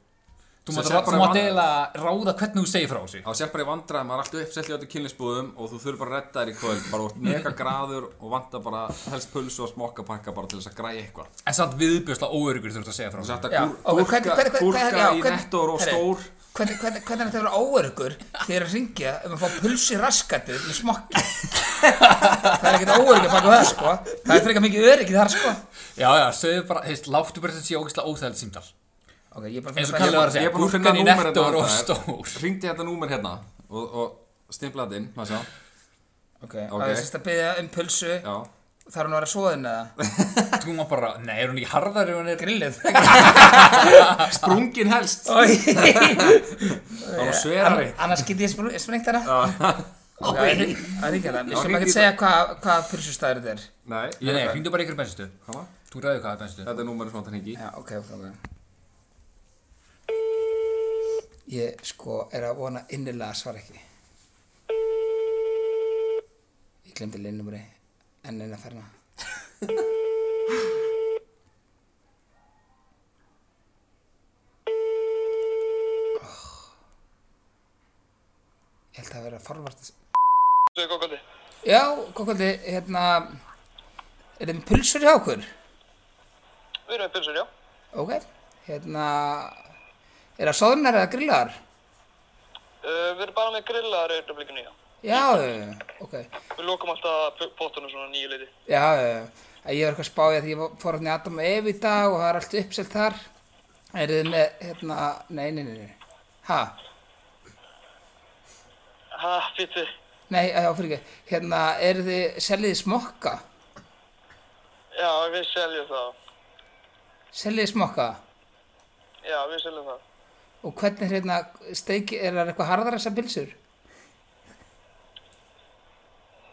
Þú Sem mátt sagt rá- þú bara- mátt eiginlega ráða hvernig þú segir frá þessu Þá sér bara í vandræðum, maður er alltaf uppsellið á þetta kynlisbúðum og þú þurfir bara að redda þér í kvöld bara út mega graður og vanta bara helst pulsu og smokkapakka bara til þess að græja eitthvað En samt viðbjörsla óörugur þú ert að segja frá Þú þessu Já, sér þetta ok, hvernig- hvernig- gúrka, hvernig- hvernig- gúrka já, í hvernig- nettor og herri. stór Hvernig, hvernig, hvernig er þetta að vera óörugur þegar að ringja um að fá pulsi raskatið með smokki? það er ekkert óörugur baka það sko Það er frekar mikið öryggi þar sko Já, já, segðu bara, heist, láttu bara þessi ógislega óþægild símdal Ok, ég er bara hérna. Eins og að Kalli var að finna- segja, Ég er búin að finna gúrkan í númer netto hérna er of handa þér. stór Hringdi þetta númer hérna og, og stimplaði þetta inn, maður sjá Ok, Ok. það er sérst að byggja um pulsu Já, Þarf hún að vera svoðin eða? Þú má bara, nei, er hún ekki harðar ef hún er Grillið sprungin helst Það var sverari Annars get ég spr- sprengt hana Ok, það er hring- það er ringja það Við skulum hringdu ekki í segja hvað hva pulsustæður þetta er Nei, Nei, nei, ég veit hringdu bara í ykkur bensistu það Þú ræður hvað er bensistu Þetta er númerið sem þetta hringi í. Já, ok, ok, ok Ég sko er að vona innilega að svara ekki Ég glemdi linnumri enn eina ferna Ég held að vera að forvarta Þú er góðkvöldi. Já, kokkvöldi, hérna Er þið með pulsur hjá okkur? Við erum með pilsur, já. Ok, hérna Er það soðnar eða grillaðar? Uh, við erum bara með grillaðar auðvitaðblikinu, já. Já, já, já, ok. Við lokum alltaf pottunum svona nýju leiti. Já, já, já. Að Ég var eitthvað spáðið að ég var- fór hérna í Adam og Eve í dag og það er allt uppselt þar. Er þið með, hérna, nei, nei, nei, nei. Ha? Ha, fíti. Nei, já, fyrir ekki. Hérna, er þið, seljið þið smokka? Já, við seljum það. Seljið þið smokka? Já, við seljum það. Og hvernig, hérna, steiki, er það eitthvað harðar þessar pilsur?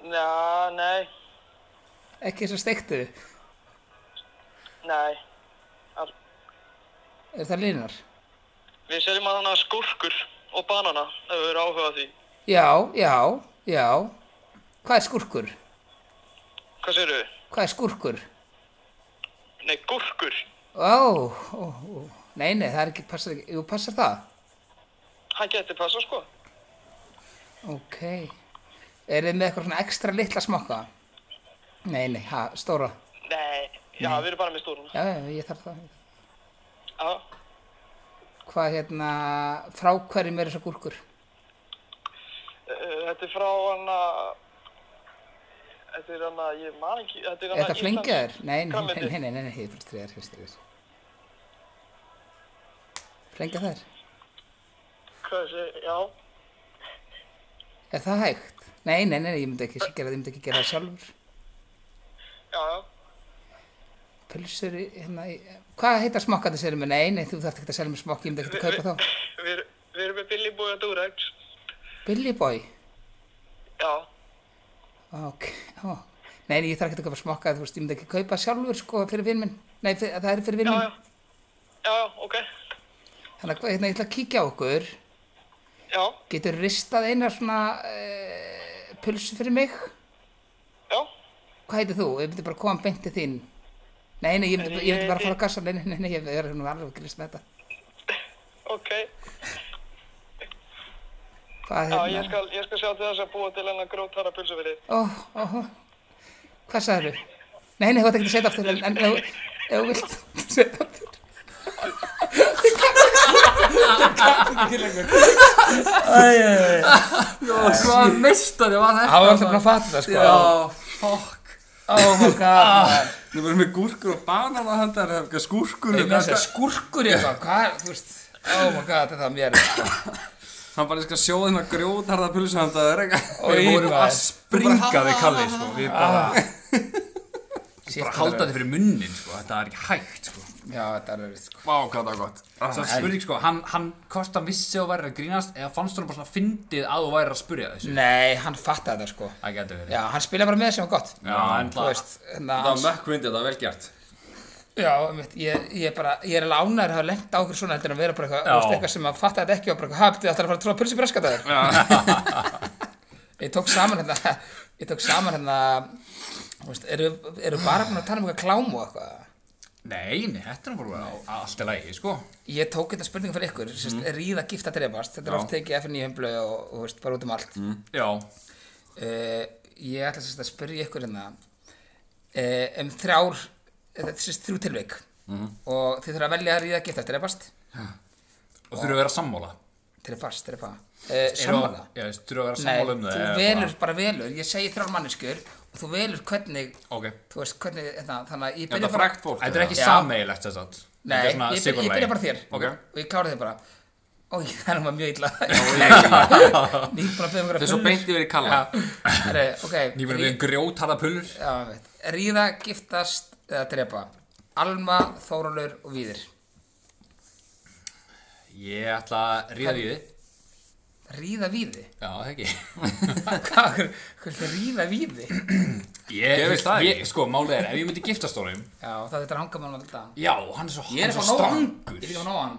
Já, nei, Ekki þessar steiktu? nei. All... Er það línar? Við seljum að hana skurkur og banana, ef við erum áhuga á því. Já, já, já. Hvað er skurkur? Hvað segir þau? Hvað er skurkur? Nei, gúrkur. Ó, ó, ó. Nei, nei, það er ekki, passar ekki, jú, passar það? Hann getur passa, sko. Ok. Er þið með eitthvað svona ekstra litla smokka? Nei, nei, ha, stóra. Nei, já, við erum bara með stúrun. Já, já, ég þarf það. Já, Hvað hérna, frá hverjum er þessar gúrkur? uh, þetta er frá hana... Þetta er hana, ég man ekki, þetta er Er hana... þetta flengjaður? Nei, nei, nei, grænmeti. nei, nei, nei, nei, ég er bara stríðar, ég er stríðar. Flengja þær? Hvað segir, já. Er það hægt? Nei, nei, nei, nei, ég myndi ekki gera það, ég myndi ekki gera það sjálfur. Já, já. Pulsur, í- hérna, í- hvað heita smokkandi sérum? Nei, nei, þú þarft ekki að selja mér smokk, ég myndi ekki að kaupa þá. Við erum- við erum með Billy Boy og Durex. Billy Boy, Já, ok, ó. Nei, nei, ég þarf ekki að kaupa smokka, þú veist, ég myndi ekki kaupa sjálfur, sko, fyrir vinn minn. Nei, fyrir, það er fyrir vinn Já, minn. já. Já, já, ok. Þannig að hérna, ég ætla að kíkja á okkur. Já, Getur ristað eina svona uh, pulsu fyrir mig? já. Hvað heitir þú? Ég myndi bara koma beint til þín. Nei, nei, ég myndi, ég myndi bara fara að gassa. Nei, nei, nei, nei, ég er svona alveg grist með þetta. Ok. Hvað Já, hérna? ég skal, ég skal sjá til þess að búa til hennar grótara pulsu fyrir. þig. Ó, ó, ó. Hvað sagður þú? Nei, nei, þú ætti ekki að setja aftur, en, en ef ef þú vilt setja aftur. Hvað meistari var þetta? Það var alltaf búin að fatta það, sko. Já, fuck Oh my Ah. god. Við erum með gúrkur og banana handar, það er eitthvað skúrkur Ég með þess að skurkur ég eitthvað, hvað er, þú veist, oh my god, þetta var mér. sko. Hann bara skal sjóða hérna grjótarða pulsu handar, það er eitthvað Oj, Við vorum að maður. springa við Kalli, sko Við bara, Shit, Ah, Bara halda þið fyrir munnin, sko, þetta er ekki hægt, sko Já, þetta er verið, sko. vá, hvað það er gott Svo spurning, sko, hann, hann, hvort hann vissi að þú væri að grínast eða fannst hann bara svona fyndið að þú væri að spurja þessu Nei, hann fattaði þetta, sko. Það getur verið Mm. Já, hann spilaði bara með sem var gott. Já, en Þú það veist, hérna, Það var mökkvindið, það er vel gert já, einmitt, ég, ég er bara, ég er alveg ánæður að hafa lengt á okkur svona heldur en að vera bara eitthvað, Já. þú veist, eitthvað sem að fatta þetta ekki og bara eitthvað, hafði þetta að fara að tróða pulsi braskataður. ég tók saman hérna, ég tók saman hérna, þú veist, eru, eru bara búin að tala um eitthvað klám og eitthvað? Nei, nei, þetta er nú bara á- allt í lagi, sko Ég tók þetta spurningu fyrir ykkur, sérst, ríða gifta drefast, þetta er oft tekið FN í heimblöð og, og þú veist, bara út um allt. Mm. Já, Eh, ég ætla sérst að spyrja ykkur hérna uh, um þrjár, eh, þetta er sérst þrjú tilvik Mhm. og þið þurfa að velja að ríða gifta drefast, og þurfa að vera sammála drefast, drefa, uh, Eru- sammála. Já, þurfa að vera Nei, sammála um það þú eða velur, bara velur, ég segi þrjár manneskur og þú velur hvernig, bara- Ok, þú veist, hvernig, hérna, þannig að ég Þetta byrja er frækt fólk þetta er ekki Já. sameigilegt þess að Nei, ég, byrja- ég byrja bara þér Ok. og ég klára þér bara Ói, það er nú bara mjög illa Nýtt bara að um beða mér Þetta er svo beint yfir í Kalla Ok, Ég verið við grjótarða pullur Já, ég veit. Ríða, giftast eða drepa Alma, Þórólur og Víðir Ég ætla að ríða í þið Ríða Víði? Já, það ekki Hvað, hver, hver er ríða Víði? Ég, Gerist það ég, sko, málið er, ef ég myndi giftast honum Já, það þetta hanga mann alltaf Já, hann er svo, Ég er hann er svo ekki að fá nóg hann Ég strangur er ekki að fá nóg hann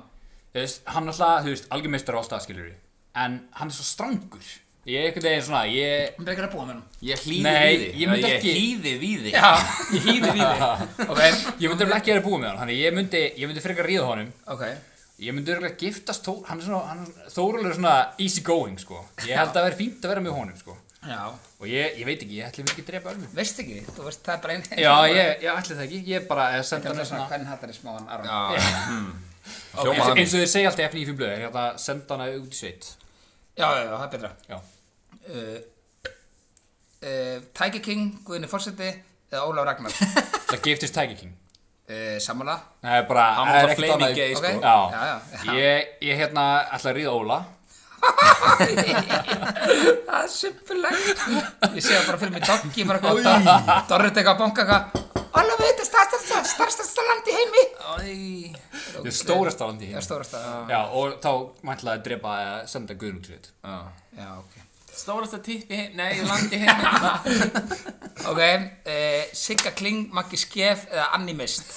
Þú veist, hann alltaf, þú veist, algjörmeistar alltaf, skilur við En hann er svo strangur Ég er einhvern veginn svona, ég Hún er ekki að búa með hann Ég hlýði Nei, við þig ég myndi Já, ekki- hlýði við þig Já, ég hýði Víði Ok, Ég myndi örugglega ekki að vera búið með hann, þannig ég myndi, ég myndi frekar ríða honum ok Ég myndi örgulega giftast Þór, hann er svona, hann, Þórólur er svona easy going, sko Ég held að það vera fínt að vera með honum, sko Já, Og ég, ég veit ekki, ég ætli mér ekki að drepa ölmu veist ekki, þú veist, það er bara ein Já, ég, ég ætli það ekki, ég bara eh, Þetta sendi hann er svona svona hvern hattar í smáan Aron eins, Hljóma og- hann eins og þið segja alltaf í FNÍ fyrir blöð, ég ætla að senda hann út í sveit Já, já, já, það er betra Já, uh, uh, Tiger King, Guðinni Fawcetti eða Ólaf Ragnar það giftist Tiger King uh, Sammála Það er bara, Hann það var er það ekkert flaming annað- gay, Ok. sko Já, Já, já, já. Ég, ég hérna ætla að ríða Óla Það er simpulegt Ég sé það bara fyrir mig doggi bara eitthvað Dorrit eitthvað að banka eitthvað Ólaf veit að starstasta, starstasta land í heimi Ég er stórast á landi Já, stórasta Já, og þá mætlaði að drepa eða senda Guðrún til þitt Já, ok Stórasta tippi, nei, landi heim Ok, uh, Sigga Kling, Maggi Skef eða Anni Mist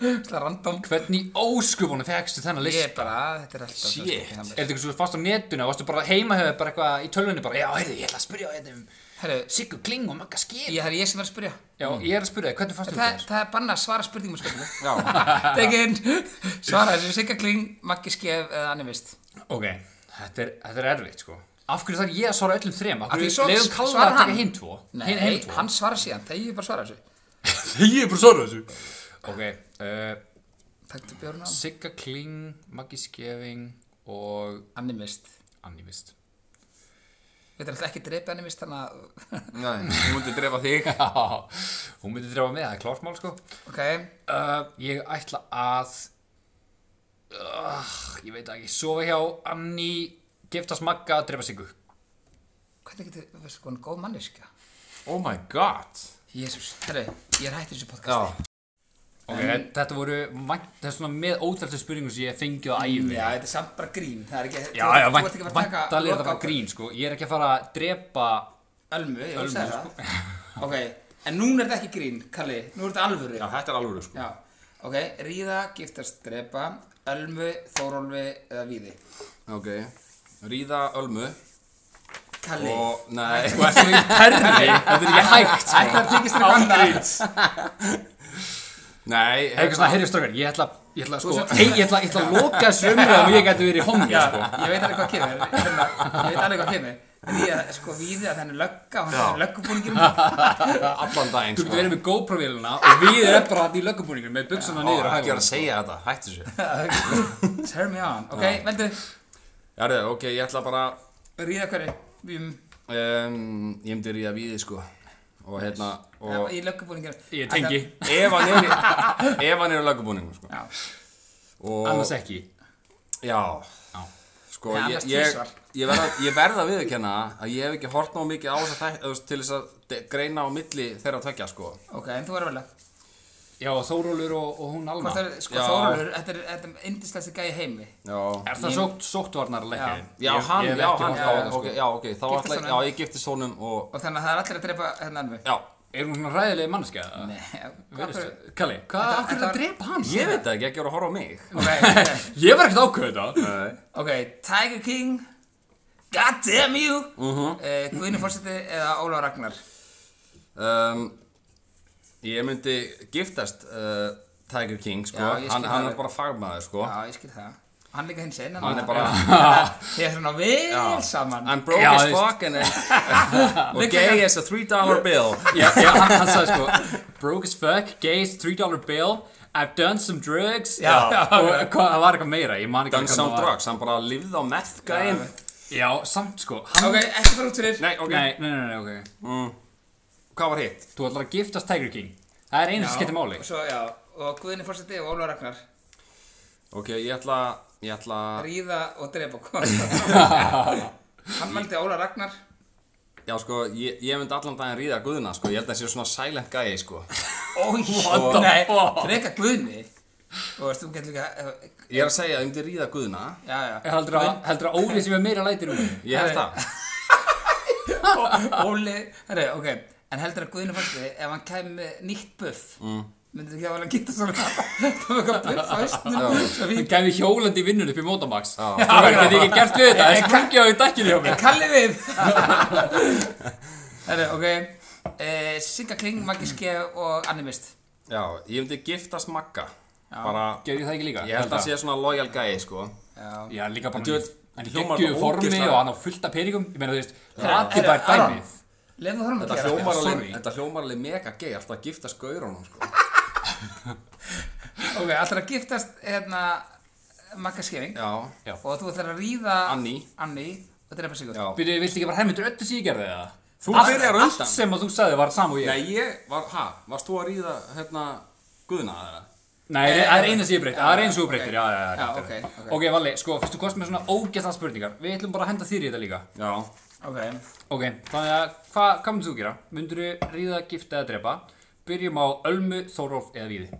Það er random Hvernig óskupunum fegstu þennan list? Ég er bara, þetta er alltaf Shit. Er þetta eitthvað svo fast á netuna? Varstu bara heima hefur bara eitthvað í tölvunni bara Já, heyrðu, ég ætla að spyrja á þetta um Herru, Siggu Kling og Magga Skip Hmm. ég, það er ég sem er að spyrja Já, ég er að spyrja þig, hvernig fannst þú Það, þetta? það er bannað að svara spurningum og spurningum Já, Tekin, svara þessu Sigga Kling, Maggi Skef eða animist Ok, þetta er, þetta er erfitt sko Af hverju þarf ég að svara öllum þrem? Af Af hverju því svo- leiðum kalla svarar að taka hann. hinn tvo? Nei, Hinn hinn tvo? hann svara síðan, þegar ég bara svara þessu Ég er bara að svara þessu Ok, uh, Takktu Björn á Sigga Kling, Maggi Skefing og animist Anni Vist Við erum alltaf ekki dreipið animist þannig að nei, hún myndi drefa þig Hún myndi drefa með, það er klart mál sko Ok, uh, Ég ætla að uh, Ég veit það ekki, sofa hjá Anni Giftast Magga, drefa Siggu hvernig getur, veistu hvað, hún er góð manniska Oh my god Jésús, herru, ég er hættur þessu Já, podcasti okay, Þetta voru, vænt- þetta er svona með óþæltu spurningum sem ég hef fengið á æfi Já, þetta er samt bara grín, það er ekki Já, þú- já, þú ert ekki að fara að taka vantalega þetta lokaákvörðun. var grín sko Ég er ekki að fara að drepa Ölmu, ég Ölmu, veist það Ok, en núna er þetta ekki grín, Kalli Nú er þetta alvöru Já, þetta er alvöru sko Já. Ok, ríða, giftast, drepa Ölmu, Þórólfi eða Víði Ok, ríða ölmu Kalli Og, nei, þú ert svo í perri Þetta er ekki hægt sko Ætlar þykist þér eitthvað annað Nei, Eitthvað svona, heyrðu strókar, ég ætla, ég ætla, sko, Þú ert svo- hey, ég ætla, ég ætla að loka þessu umræðum og ég gæti verið í homni, Já, sko. ég veit alveg hvað kemur hérna, Ég veit alveg hvað kemur Ríða, sko, Víði að þenni lögga og hann er löggubúningir allan daginn Þú sko getur verið með GoPro-vélina og við erum bara hann í löggubúningum með buksuna niður á Ó, ekki hægum. vera að segja þetta, hættu þessu Turn me on Ok, veldu, Járðu, ok, ég ætla bara ríða hverju Bím, um, Ég myndi ríða við þið sko Og hérna, og í löggubúningir Ég tengi, Ef hann er, í- ef hann er í lögubúningum sko Já, og, annars ekki. Já, Já, sko ég, annars ég, tvisvar. ég verða ég verð að viðurkenna að ég hef ekki hort ná mikið á þess að þætt til þess að de- greina á milli þeirra tvekja sko ok, en þú er að velja Já, Þórólur og, og hún Alma. Hvort er, sko, Já. Þórólfur, þetta er, þetta er indislegasti gæi í heimi Já, Er það sótt, sóttvarnar leikir? já hann, já hann, já, já, ok, já, ok, þá sko. Giftist ætla ég, honum. já ég giftist honum og, Og þannig að það er allir að drepa hérna alveg já, Er hún svona ræðilega mannskja? Nei. Kalli, hvað, Þetta- af hverju þetta það var- drepa hans? ég veit það ekki, ekki voru að horfa á mig Ok, Ég var ekkert ákveðið það. Nei, ok, Tiger King God damn you uh -huh. uh, Guðinu fórseti eða Óla Ragnar um, ég myndi giftast uh, Tiger King sko, Já, ég skil hann, það hann er alveg. bara fagmaður sko Já, ég skil það Hann líka hins einn Hann er bara- Þið er svona vel saman I'm broke Já, as þú veist. fuck and og gay as a three dollar bill Já, já, hann hann sagði sko, broke as fuck, gays, three dollar bill, I've done some drugs, Já. og hvað, það var eitthvað meira, ég man ekki Done hvað some það var. drugs, hann bara lifði á meth gæinn Já, samt sko, hann, Ok, ekki fara út fyrir Nei, ok, nei, nei, nei, nei, ok, hvað var hitt? þú ætlar að giftast Tiger King, það er einu sem skiptir máli. Og svo, já, og Guðinu fórseti og Óla Ragnar Ok, ég ætla, ég ætla Ríða og drepa hvað Hann meldi Óla Ragnar Já sko, ég, ég myndi allan daginn ríða guðuna sko Ég held að það sé svona silent gæi sko Oh, What the nei, fuck? Freka Guðni Og veist, þú getur líka eh, Ég er að segja, ég myndi ríða guðuna Já, já Heldur að, heldur að Óli sem er meira lætir um henni. Ég held það Ó- Óli, herri, ok En heldur að Guðinu fannst þið Ef hann kæmi með nýtt buff mm. Myndir ekki að hann geta svona Það var eitthvað buff á östnum Svo Hann fín gæmi hjólandi í vinnunni upp í Mótamax. Já. Þú verður ekki ekki gert við þetta, það er sprungið á í dækkinni hjá mér. Kalli við Herri, ok e, Sigga Kling, Maggi Ske og Animist Já, ég myndi giftast Magga Bara, Gerði það ekki líka? ég held að sé svona loyal gæi sko Já Já, líka bara Þú veit, hann er hljómar geggjuðu þetta formi ógeðslega- og hann á fullt af peningum Ég meina, þú veist, Herri, hrakið það er Aron, dæmið Leyfðu honum að Þetta gera hljómar alveg, sorry. þetta hljómar alveg mega gæi Alltaf að giftast gaurunum sko Ok, allir að giftast hérna, Magga Skeving Já, Já. Og þú ætlar að ríða Annie. Annie og drepa Sigurd já Býtu, viltu ekki bara helmindur öllu sem ég gerði það? Þú Allt- byrjar Allt undan. sem að þú sagði var sam og ég Nei, Nei, ég var, ha, varst þú að ríða hérna guðuna þeirra? það er eina sem ég breytti, það er eina sem þú breyttir, já, já, já, Já, rétt, ok, rétt. ok. Ok, Valli, sko, fyrst þú kost með svona ógæsta spurningar Við ætlum bara að henda þýr í þetta líka Já Ok, Ok, þannig að, hvað hva myndir þú gera? Myndir þú ríða, gifta eða drepa? Byrjum á Ölmu, Þóróf eða Víði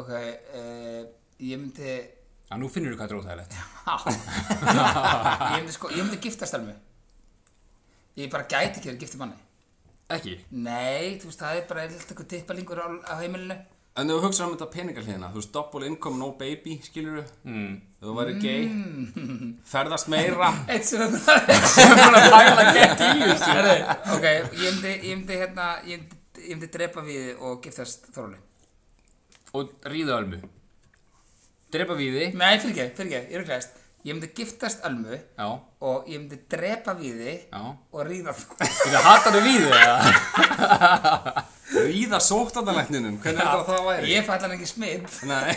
Ok, uh, ég myndi Já, nú finnur þú hvað þetta er óþægilegt Há Ég myndi sko, ég myndi giftast alveg Ég bara gæti ekki verið giftið manni Ekki? Nei, þú veist, það er bara eitthvað eitthvað tippalingur á, á heimilinu En ef þú hugsaður um þetta peningarliðina, þú veist, double income, no baby, skilur þú? Mm. Þú væri gay, ferðast meira, Eitt sem er bara Eitt sem er bara bæla gett í þessu Herru, Ok, ég myndi, ég myndi hérna Ég myndi, ég myndi drepa við og giftast Þorvaldi Og ríða Ölmu Drepa Víði Nei, fyrir ekki, fyrir ekki, ég er okkur Ég myndi giftast Almu Já, og ég myndi drepa við þið já og ríða sko. Þetta hattar þau víðu eða? ríða sóttandalækninum, hvernig heldur að það væri? Ég fæ allan ekki smitt Nei,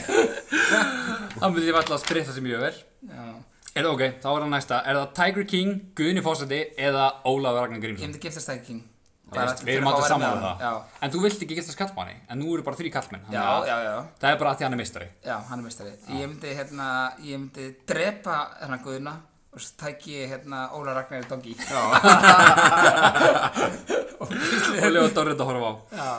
Það myndi ég alltaf að spritta sem ég vel Já Er það ok, þá er það næsta Er það Tiger King, Guðni Fósandi eða Ólafur Ragnar Ég Grímsson? myndi giftast það ekki Veist, Við erum alltaf saman um það En þú vilt ekki geta skattmanni En nú eru bara þrý kallmenn Já, já, já, já, Það er bara að því hann er mistari já, hann er mestari Ég myndi, hérna, ég myndi drepa hérna guðuna og svo tæki ég hérna Óla Ragnar í doggi Og Leo Dorrit að horfa á Já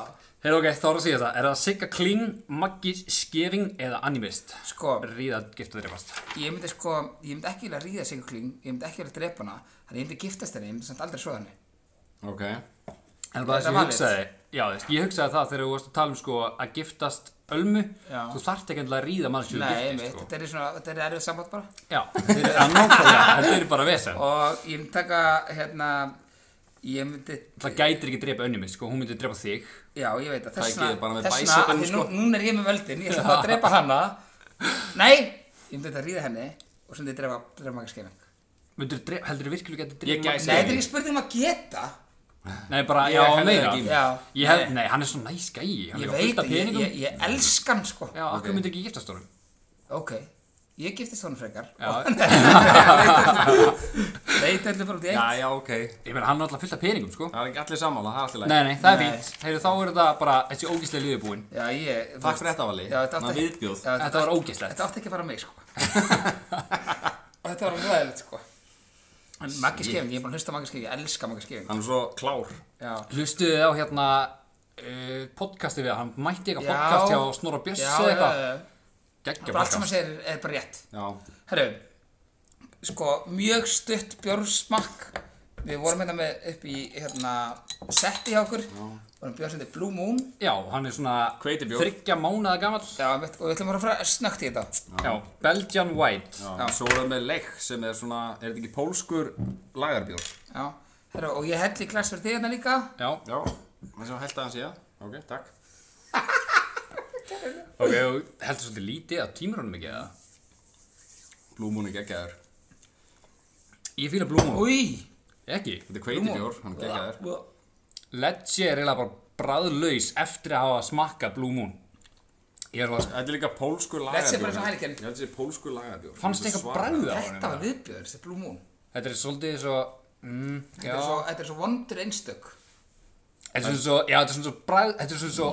Heyrðu ok, þá er það að segja það Er það Sigga Kling, Maggi Skeving eða Animist? Sko, Ríða gift að dreifast ég myndi sko, ég myndi ekki vilja ríða sig kling, ég myndi ekki vilja drepa hana þannig ég myndi giftast henni, ég myndi samt aldrei svoða henni ok En bara Þetta þess að ég valið. hugsaði Já, þú veist, ég hugsaði það þegar þú varst að tala um sko að giftast ölmu Já. Þú þarft ekki endilega að ríða mann sem þú Nei, giftist mitt, sko þetta er svona, þetta er erfið samband bara Já, þetta er- það er nákvæmlega, þetta er bara vesen Og ég myndi taka, hérna, ég myndi, Það gætir ekki að drepa önni mitt sko, hún myndi að drepa þig já, ég veit að Það þess er ekki vegna, bara með þess vegna, bæsabinn, af því nú, sko. núna er ég með völdin, ég ætla bara að drepa hana Nei, ég myndi þetta ríða henni og svo myndi ég drepa, drepa maga skeining Myndir þú drepa, heldur þú virkilega að drepa Ég mann- gæti- Nei, þetta er ekki spurning um að geta Nei, bara, Ég já, hefði meira ekki í mig. Já. Ég hef, nei, hann er svo næs gæi Hann Ég er fullt veit, af ég, peningum ég, ég elska hann, sko Já, okkur okay. myndi ekki giftast honum Ok, ég giftist honum frekar Já, Veit öllu bara út í eitt já, já, ok ég meina, hann er alltaf fullt af peningum sko það er ekki allir sammála, það er allir Nei, nei, það er Nei. fínt Heyrðu, þá er þetta bara þessi ógíslega liðbúin Já, ég, þú Takk veist- fyrir þetta, Valli. Já, þetta Ná, átti viðbjóð. Já, Þetta var ógeðslegt. Þetta átti ekki að fara á mig, sko Og þetta var ræðilegt, sko En Maggi Skefing, ég er búin að hlusta á Maggi Skefing, ég elska Maggi Skefing hann er svo klár Já Hlustuðu þið á hérna uh, podcasti við, hann mætti eitthvað podcast hjá Snorra Björs Já, eða eitthvað já, já, já. Geggja Bara Allt sem hann podcast segir er bara rétt já, Herru, sko, mjög stutt bjórsmakk Við vorum hérna með upp í, hérna, setti hjá okkur Vorum bjórsendi Blue Moon Já, hann er svona Hveitibjór. þryggja mánaða gamall Já, einmitt, og við ætlum bara að fara snögt í þetta Já, Belgian White já. svo er það með leik sem er svona, er þetta ekki pólskur lagarbjór Já, herru, og ég helli glas fyrir þig hérna líka Já, já, það sem held að hann sé það ok, takk ok, og heldur svolítið lítið að tímur honum ekki eða? blúmúni geggjaður, Ég fýla blúmum, Új, ekki þetta er kveitibjór hann er geggjaður Ledge er eiginlega bara bræðlaus eftir að hafa smakkað Blue Moon Ég er alveg að Þetta er líka pólskur lagarbjór. Þetta sé bara eins og Heineken. Ég held að þetta sé pólskur lagarbjór. Fannst Þetta er eitthvað svaka- bragð á honum? Þetta var viðbjörn, þessi Blue Moon Þetta er svolítið svo mm, Þetta er, svo, þetta er svo vondur einstök Þetta er svona svo, já, þetta er svona svo bragð, þetta er svona svo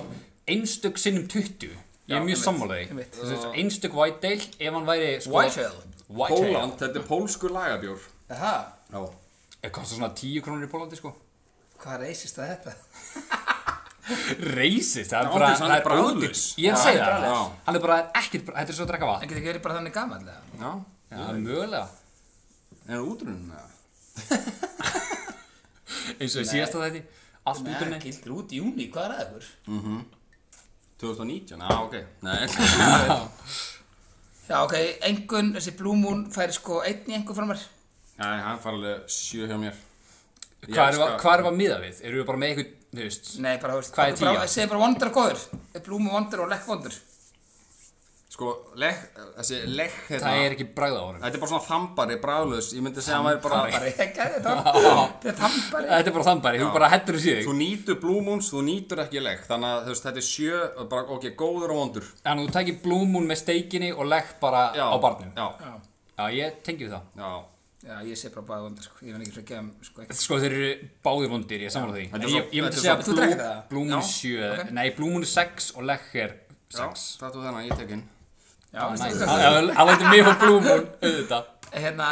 einstök sinnum 20 Ég er mjög einmitt, sammálaði einmitt. Einstök white ale, ef hann væri sko, White ale? White ale Póland, þetta er pólskur lagarbjór. Aha, Já. Það kostar svona 10 krónur í Pólandi sko hvað reysist það þetta? Reisist, það Já, er bara, þess að hann það er er bragðlaus. ódýrt Ég er að Já, segja hann er það, bragðlaus. hann er bara ekkert, bra- þetta er svo að drekka En vatn getur ekki verið bara þannig gamall eða? Já. Já, mögulega En er útrunin eða? Eins og í síðasta þetta, allt út um Nei, gildir út í júni, hvað er aðeins? 2019? Já, ok. Nei. Já, ok, engun, þessi Blue Moon fær sko einn í engu frá mér Nei, hann fara alveg sjö hjá mér. Ég Hvað erum elska- við- hvað erum við að miða við? Erum við bara með eitthvað, þú veist Nei, bara, þú veist, Hvað er okkur bara- tíu? Segðu bara vondur og góður Blue Moon vondur og lekk vondur Sko, legg, þessi legg hérna. Það er ekki bragð á honum Þetta er bara svona þambari, bræðlaus. Ég myndi segja að hann væri bara... Bara, ég gæði þetta Þetta er þambari Þetta er bara þambari, þú bara hættur þessu í þig Þú nýtur blúmúns, þú nýtur ekki legg. Þannig að þú veist, þetta er sjö, bara, ok, góður og vondur. Þannig að þú tækir Blue Moon með steikinni og legg bara Já. á barnum Já. Já, Já, ég tengi við það. Já. já, ég segi bara báði vondur, sko Ég veit ekki svo að gefa þeim, sko, ekki Sko þeir eru báðir vondir, ég samfélag því. Þetta er En svo- ég, ég myndi þetta er segja svo- Þú drekkir Blue, það? Blue Moon Já, 7, nei Blue Moon er 6 og Lech er 6. Já, Þetta var þennan, ég tek inn. Já, veistu Næs. hvað Það það lætur mig og Blue Moon auðvitað. hérna,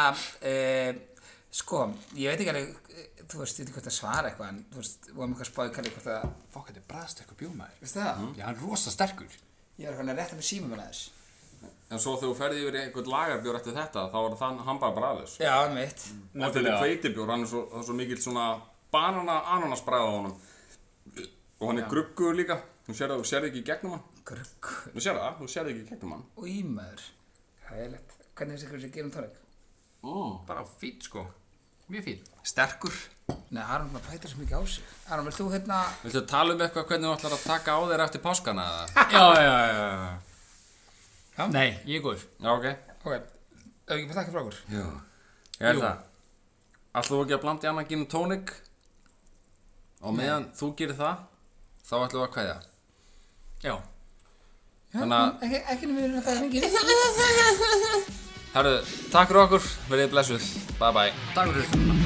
e, sko, ég veit ekki alveg, eh, þú veist, ég veit ekki hvort að svara eitthvað, en þú veist, vorum eitthvað spáði kalli hvort að, Fokk, þetta er bræðsterkur bjómaður. veistu það? Já, hann er rosa sterkur. Ég var eitthvað að rétta með símum hann aðeins. En svo þegar þú ferði yfir í einhvern lagarbjór eftir þetta, þá er þann, hann bara bræðlaus. Já, mitt. Og þetta er Nefnilega. hveitibjór, hann er svo, það er svo mikill svona banana ananas bræða á honum. Og hann er gruggur líka, þú sérði sér ekki í gegnum hann. Grugg Þú sérði það, þú sérði ekki í gegnum hann. og ímaður. Hægilegt. Hvernig finnst ykkur sem gerum tónik? Oh. Bara fýtt sko. Mjög fýtt. Sterkur. Nei, Aron maður pætir svo mikið á sig. Aron, vilt þú hérna, Viltu að tala um eitthvað hvernig þú ætlar að taka á þér eftir páskana eða? Já, já, já, já. Já. Nei, ég er góður. Já, ok. ok, ef ekki bara þakka frá okkur. Jú. Ég held það. Ætlum við ekki að blanda í annan gin og tónik? Og meðan þú gerir það, þá ætlum við að kveðja. Já. Þannig að, Ekki, ekki nefnir þetta að hengið. herru, takk fyrir okkur, verið blessuð. Bye bye. Takk fyrir þessu.